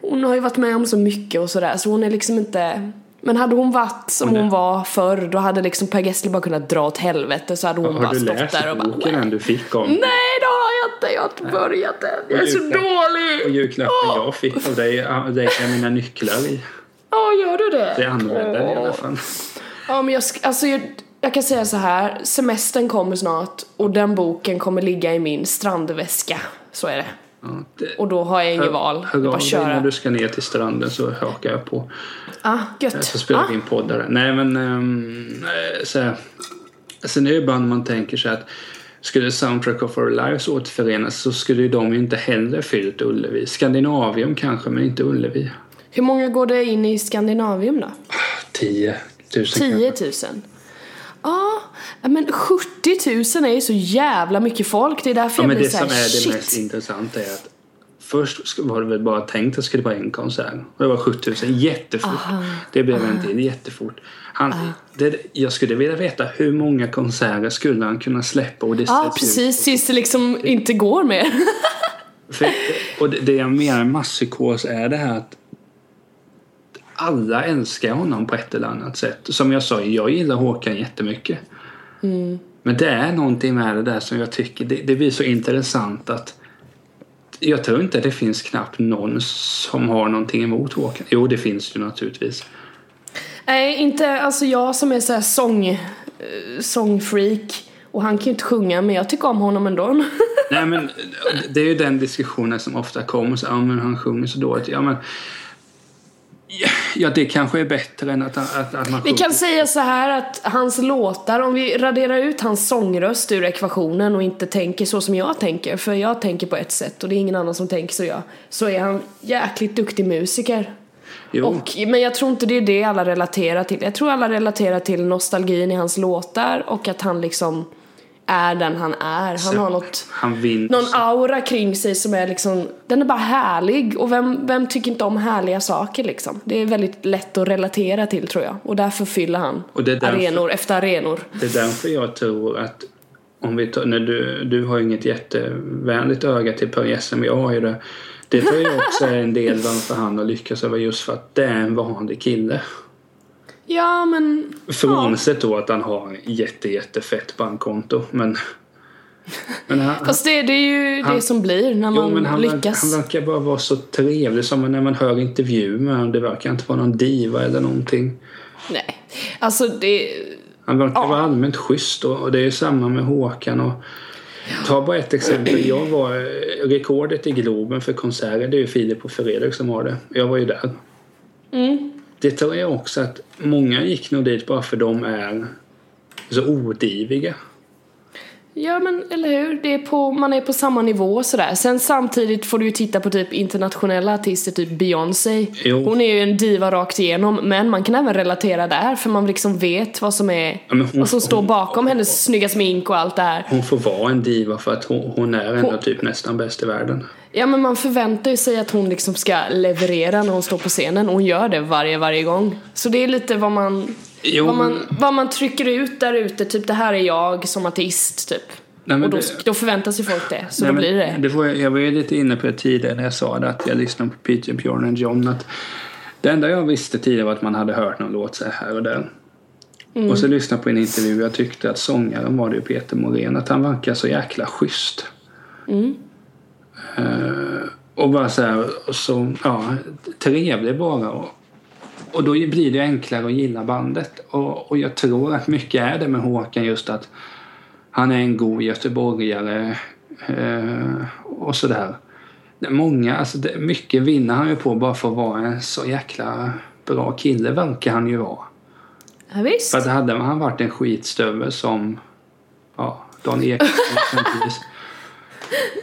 hon har ju varit med om så mycket och sådär så hon är liksom inte men hade hon varit som Hon är- hon var förr då hade liksom Per Gessle bara kunnat dra åt helvete så hade hon bara Har du stått läst där och bara Mm. boken än du fick om? Nej det har jag inte, jag har inte börjat än. Jag är så julklapp. Och dålig! Ah! julklappen Åh! jag fick av dig, av dig är mina nycklar i. Ja, gör du det? Det använder jag i alla fall. Ja men jag, sk- alltså jag, jag kan säga så här, semestern kommer snart och den boken kommer ligga i min strandväska. Så är det. Ja, det Och då har jag inget val. Det är Hör bara av att dig när köra. du ska ner till stranden så hakar jag på. Ah, Eh, Så gött. spelar Ah, vi in poddar. Nej men ehm, eh, så här. Sen är det ibland man tänker sig att skulle Soundtrack of Our Lives återförenas så skulle ju de ju inte heller fyllt Ullevi. Skandinavium kanske men inte Ullevi. hur många går det in i Skandinavium då? 10 000 kanske. 10 000. Ja, men 70 000 är ju så jävla mycket folk. Det är därför Ja, jag men blir det såhär, som är det mest shit. intressanta är att först sk- var det väl bara tänkt att det skulle vara en konsert. Och det var 7000 jättefort. Det blev Ah. en till jättefort. Han, det, jag skulle vilja veta hur många konserter skulle han kunna släppa och det Ja, ställs ut. precis. Tills det liksom inte går mer. För, och det, det jag menar med masspsykos är det här att alla älskar honom på ett eller annat sätt. Som jag sa, jag gillar Håkan jättemycket. Mm. Men det är någonting med det där som jag tycker, det, det blir så intressant att jag tror inte det finns knappt någon som har någonting emot Håkan. Jo, det finns ju naturligtvis. Nej, inte alltså jag som är såhär sång, eh, sångfreak. Och han kan ju inte sjunga, men jag tycker om honom ändå. Nej men det är ju den diskussionen som ofta kommer. Så, ja men han sjunger så dåligt. Ja men... Ja det kanske är bättre än att, att, att man Vi sjunger. kan säga så här att hans låtar, om vi raderar ut hans sångröst ur ekvationen och inte tänker så som jag tänker, för jag tänker på ett sätt och det är ingen annan som tänker så jag, så är han jäkligt duktig musiker. Jo. Och, men jag tror inte det är det alla relaterar till. Jag tror alla relaterar till nostalgin i hans låtar och att han liksom är den han är. Han Så- har något Typ. Han vinner. någon aura kring sig som är liksom, den är bara härlig och vem, vem tycker inte om härliga saker liksom? Det är väldigt lätt att relatera till tror jag och därför fyller han Och det är därför- arenor efter arenor. Det är därför jag tror att om vi tar, när du, du har ju inget jättevänligt öga till Per Gessle, men jag har ju det. Det tror jag också är en del varför han har lyckats över just för att det är en vanlig kille. Ja men, Frånsett då att han har jätte, jättefett bankkonto, men... men han, fast det, det är ju det Han- som blir när man jo, men han, verkar- lyckas. han verkar bara vara så trevlig som när man hör intervjuer med honom. Det verkar inte vara någon diva eller någonting. Nej, alltså det, Han verkar vara allmänt schysst och, och det är ju samma med Håkan. Och, ta bara ett exempel. Jag var eh, rekordet i Globen för konserter. Det är ju Filip och Fredrik som har det. Jag var ju där. Det tror jag också att många gick nog dit bara för de är så odiviga. Ja men eller hur, det är på, man är på samma nivå sådär. Sen samtidigt får du ju titta på typ internationella artister, typ Beyoncé. Jo. Hon är ju en diva rakt igenom men man kan även relatera där för man liksom vet vad som är, Ja, men hon- vad som står hon- bakom hennes snygga smink och allt det här. Hon får vara en diva för att hon, hon är ändå Hon- typ nästan bäst i världen. Ja men man förväntar ju sig att hon liksom ska leverera när hon står på scenen och hon gör det varje, varje gång. Så det är lite vad man, Jo, vad man, men- vad man trycker ut där ute, typ det här är jag som artist typ. Nej, men och då, det- då förväntas ju folk det, så Nej, då men blir det det det. var, jag var ju lite inne på det tidigare när jag sa det att jag lyssnade på Peter Björn and John. Att det enda jag visste tidigare var att man hade hört någon låt så här och där. Mm. Och så lyssnade jag på en intervju jag tyckte att sångaren var det ju Peter Morén. Att han verkar så jäkla schysst. Mm. Eh, och bara så här, och så, ja, trevlig bara. Och, och då blir det enklare att gilla bandet. Och, och jag tror att mycket är det med Håkan just att han är en god göteborgare eh, och sådär. Det är Många, alltså det, mycket vinner han ju på bara för att vara en så jäkla bra kille verkar han ju vara. Ja, visst. För att hade han varit en skitstövel som ja, Dan Ekström exempelvis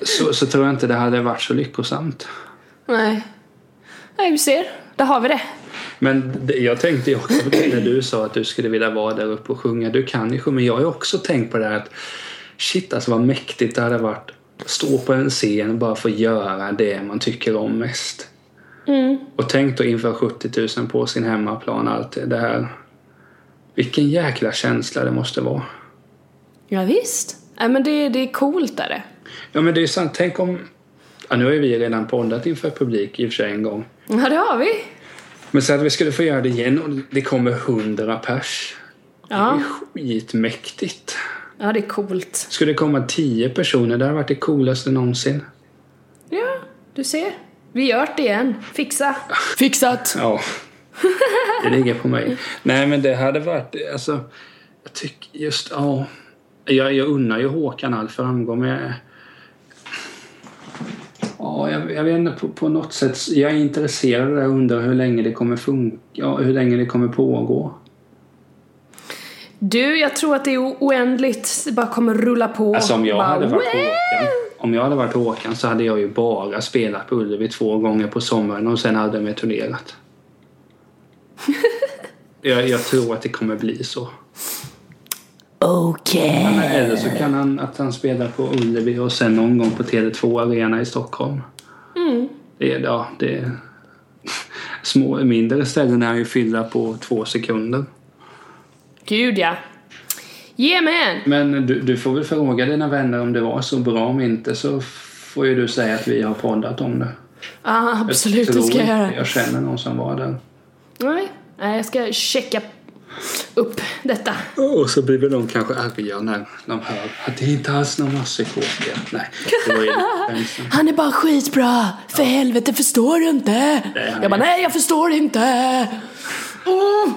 så, så tror jag inte det hade varit så lyckosamt. Nej. Nej, du ser. Där har vi det. Men det, jag tänkte ju också på det när du sa att du skulle vilja vara där uppe och sjunga. Du kan ju sjunga. Men jag har ju också tänkt på det här att shit alltså vad mäktigt det hade varit att stå på en scen och bara få göra det man tycker om mest. Och tänk då inför 70 000 på sin hemmaplan allt det här. Vilken jäkla känsla det måste vara. Ja, visst. Nej, men det, det är coolt där det. Ja men det är ju sant. Tänk om... Ja, nu har ju vi redan poddat inför publik i och för sig en gång. Ja, det har vi. Men så att vi skulle få göra det igen och det kommer hundra pers. Ja, Det är skitmäktigt. ja det är coolt. Skulle det komma tio personer, det hade varit det coolaste någonsin. Ja, du ser. Vi gör det igen. Fixa. Fixat. Ja, det ligger på mig. Nej, men det hade varit, alltså, Jag tycker just, ja. Jag, jag unnar ju Håkan all framgång men... Ja, jag, jag vet inte, på, på något sätt. Jag är intresserad och jag undrar hur länge det kommer funka, ja, hur länge det kommer pågå. Du, jag tror att det är o- oändligt. Det bara kommer rulla på. Alltså om jag bara, hade varit wow! Håkan, om jag hade varit Håkan så hade jag ju bara spelat på Ullevi två gånger på sommaren och sen hade jag turnerat. jag, jag tror att det kommer bli så. Okej. Men Eller så kan han att han spelar på Ullevi och sen någon gång på Tele2 Arena i Stockholm. Mm. Det är, ja, det är små, mindre ställen är ju fyllda på två sekunder. Gud ja. Yeah man! Men du, du får väl fråga dina vänner om det var så bra om inte så får ju du säga att vi har poddat om det. Ah, absolut, det tror ska jag inte göra. Jag känner någon som var där. Nej, nej, jag ska checka upp detta. Och så blir väl de kanske arga när de hör att det är inte alls någon masspsykotiker. Nej, det var ju skämsen. Han är bara skitbra! För helvete, förstår du inte? han jag bara, är- nej jag förstår inte! Mm.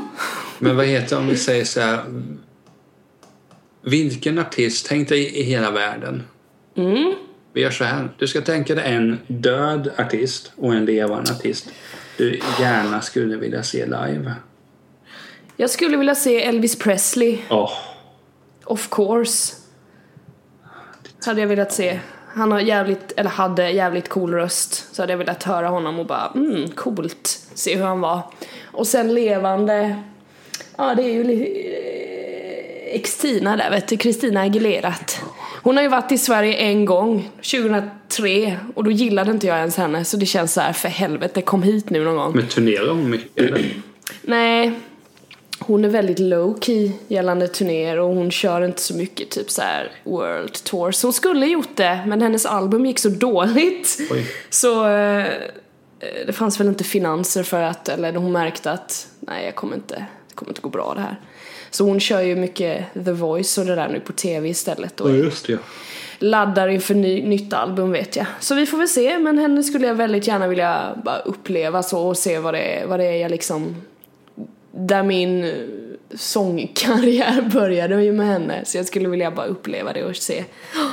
Men vad heter det om vi säger så här. Vilken artist, tänk dig i hela världen. Mm. Vi gör så här. Du ska tänka dig en död artist och en levande artist. Du gärna skulle vilja se live. Jag skulle vilja se Elvis Presley, Åh, of course. Hade jag velat se. Han har jävligt, eller hade jävligt cool röst. Så hade jag velat höra honom och bara, mm, coolt. Se hur han var. Och sen levande, ja det är ju li- eh, X-Tina där vet du, Christina Aguilerat. Hon har ju varit i Sverige en gång, 2003. Och då gillade inte jag ens henne. Så det känns så här, för helvete, kom hit nu någon gång. men turnerar hon mycket eller? Nej. Hon är väldigt low key gällande turnéer och hon kör inte så mycket typ så här world tours. Hon skulle gjort det men hennes album gick så dåligt. Oj. Så eh, eh, det fanns väl inte finanser för att, eller hon märkte att nej jag kommer inte, det kommer inte gå bra det här. Så hon kör ju mycket The Voice och det där nu på TV istället och just det. laddar inför ny, nytt album vet jag. Så vi får väl se, men henne skulle jag väldigt gärna vilja bara uppleva så och se vad det är, vad det är jag liksom... Där min eh, sångkarriär började ju med henne, så jag skulle vilja bara uppleva det och se. Åh,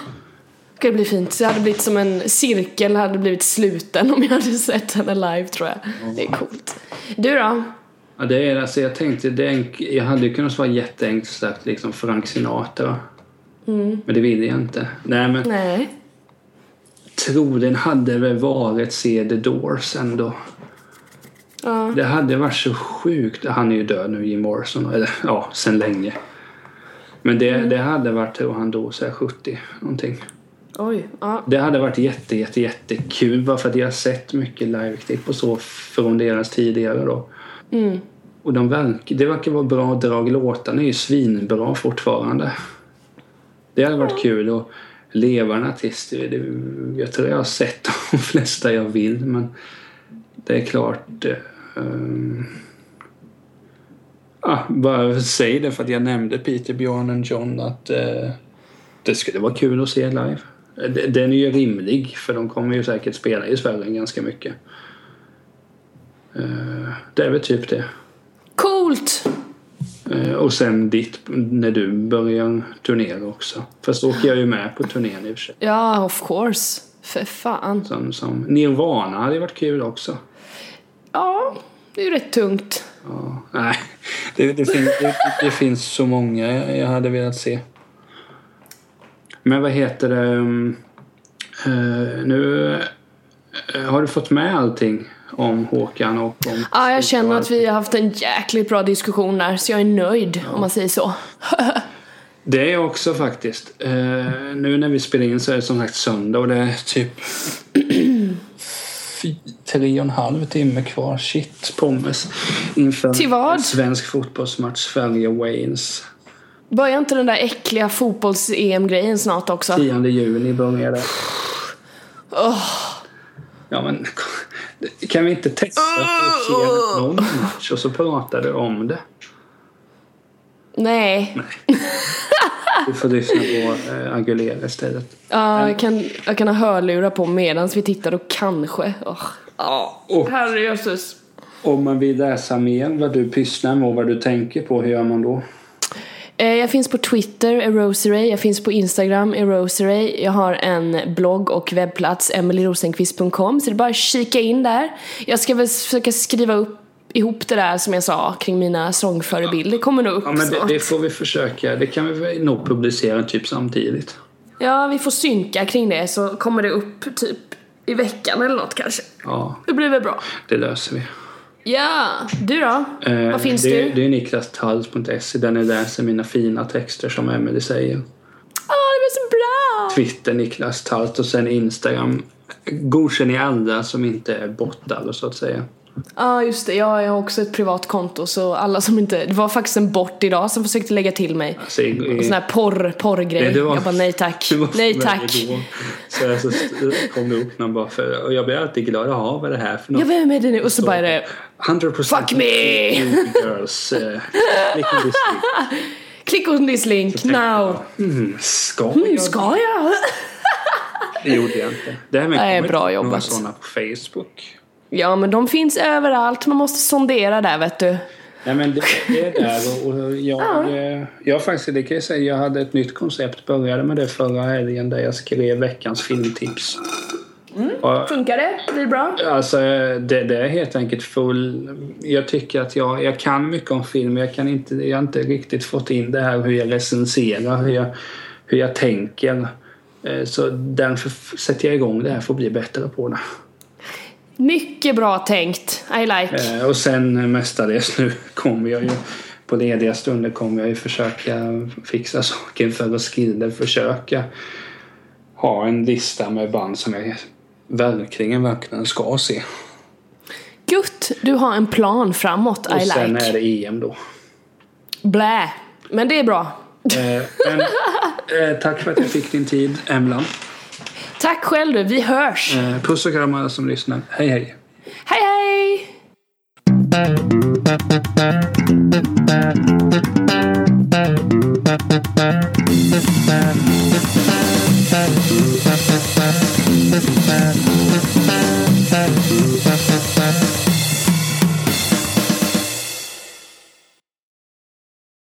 Ska det bli fint? Det hade blivit som en cirkel, hade blivit sluten om jag hade sett henne live tror jag. Det är coolt. Du då? Ja, det är alltså jag tänkte, det är en, jag hade ju kunnat svara jätteenkelt sagt liksom Frank Sinatra. Men det ville jag inte. Nej men Nej. troligen hade väl varit se The Doors ändå. Ja. Det hade varit så sjukt. Han är ju död nu, Jim Morrison. Eller ja, sen länge. Men det, det hade varit, tror han då, så här 70 någonting. Oj. Ja. Det hade varit jätte, jätte, jättekul. Bara för att jag har sett mycket liveklipp och så från deras tidigare då. Mm. Och de verk, det verkar vara bra drag. Låtarna är ju svinbra fortfarande. Det hade varit kul. Och levande artister, det, jag tror jag har sett de flesta jag vill. Men det är klart... eh, ehm, ah, bara säg det för att jag nämnde Peter, Björn och John att eh, det skulle vara kul att se live. Eh, d- Den är ju rimlig för de kommer ju säkert spela i Sverige ganska mycket. Eh, det är väl typ det. Coolt! Eh, Och sen ditt, när du börjar turnera också. Fast då åker jag ju med på turnén i och för sig. Ja, of course. För fan. Som, som Nirvana hade ju varit kul också. Ja, det är ju rätt tungt. Ja, nej, det, det, fin, det, det finns så många jag- jag hade velat se. Men vad heter det? mm, eh, nu eh, har du fått med allting om Håkan och om... Ja, jag känner att vi har haft en jäkligt bra diskussion där, så jag är nöjd om man säger så. Det är jag också faktiskt. Eh, nu när vi spelar in så är det som sagt söndag och det är typ fy- tre och en halv timme kvar. Shit, pommes. Inför Till vad? en svensk fotbollsmatch Sverige-Wales. Börjar inte den där äckliga fotbolls-EM-grejen snart också? 10 juni börjar det. Ja, men kan vi inte testa att se någon match och så pratar du om det? Nej. Du får lyssna på eh, Agulera istället. Ja, jag, kan, jag kan ha hörlurar på medan vi tittar och kanske... Åh. Ja, Och- herrejösses. Om man vill läsa mer vad du pysslar med och vad du tänker på, hur gör man då? Eh, Jag finns på Twitter, Eroseray. Jag finns på Instagram, Eroseray. Jag har en blogg och webbplats, emilyrosenqvist.com. Så det är bara att kika in där. Jag ska väl försöka skriva upp ihop det där som jag sa kring mina sångförebilder. Det kommer nog upp Ja, men det, snart. det får vi försöka. Det kan vi väl nog publicera typ samtidigt. Ja, vi får synka kring det så kommer det upp typ i veckan eller något kanske. Ja, Det blir väl bra. det löser vi. Ja, du då? Eh, Vad finns det, du? Det är niklastahl.se där ni läser mina fina texter som Emelie säger. Åh, Ah, det blir så bra! Twitter Niklas Talt och sen Instagram. Godkänn i alla som inte är bortade så att säga. Ja, Ah, just det. Ja, jag har också ett privat konto så alla som inte... Det var faktiskt en bort idag som försökte lägga till mig. Alltså, i, i, En sån här porr, Nej, porrgrej. det var- Jag bara nej tack. det var för Nej mig tack. igår. Så, jag så kom det upp någon bara för, och jag blir alltid glad. Jaha, vad är det här för något? Ja, vem är det nu? Och så bara är det 100% Fuck me! Girls. eh, Little District. Click on this link now. Mm, ska Mm, jag? ska jag? Det gjorde jag inte. Det här Nej, kommer bra några jobbat. sådana på Facebook. Ja, men de finns överallt. Man måste sondera där, vet du. Nej men det, det är där och, och jag, eh, jag faktiskt, det kan jag säga, jag hade ett nytt koncept, började med det förra helgen där jag skrev veckans filmtips. Och, Funkar det? Blir det bra? alltså eh, det, det är helt enkelt full, jag tycker att jag, jag kan mycket om film men jag kan inte, jag har inte riktigt fått in det här hur jag recenserar, hur jag, hur jag tänker. Eh, Så därför f- sätter jag igång det här för att bli bättre på det. Mycket bra tänkt. I like. Eh, Och sen eh, mestadels nu kommer jag ju på lediga stunder kommer jag ju försöka fixa saker för att skilder försöka ha en lista med band som jag verkligen, verkligen ska se. Gutt, du har en plan framåt. Och I sen eh, like. är det EM då. Blä. Men det är bra. Eh, Men, eh, tack för att jag fick din tid, Emlan. Tack själv du. Vi hörs. Eh, Puss och kram alla som lyssnar. Hej hej! Hej hej!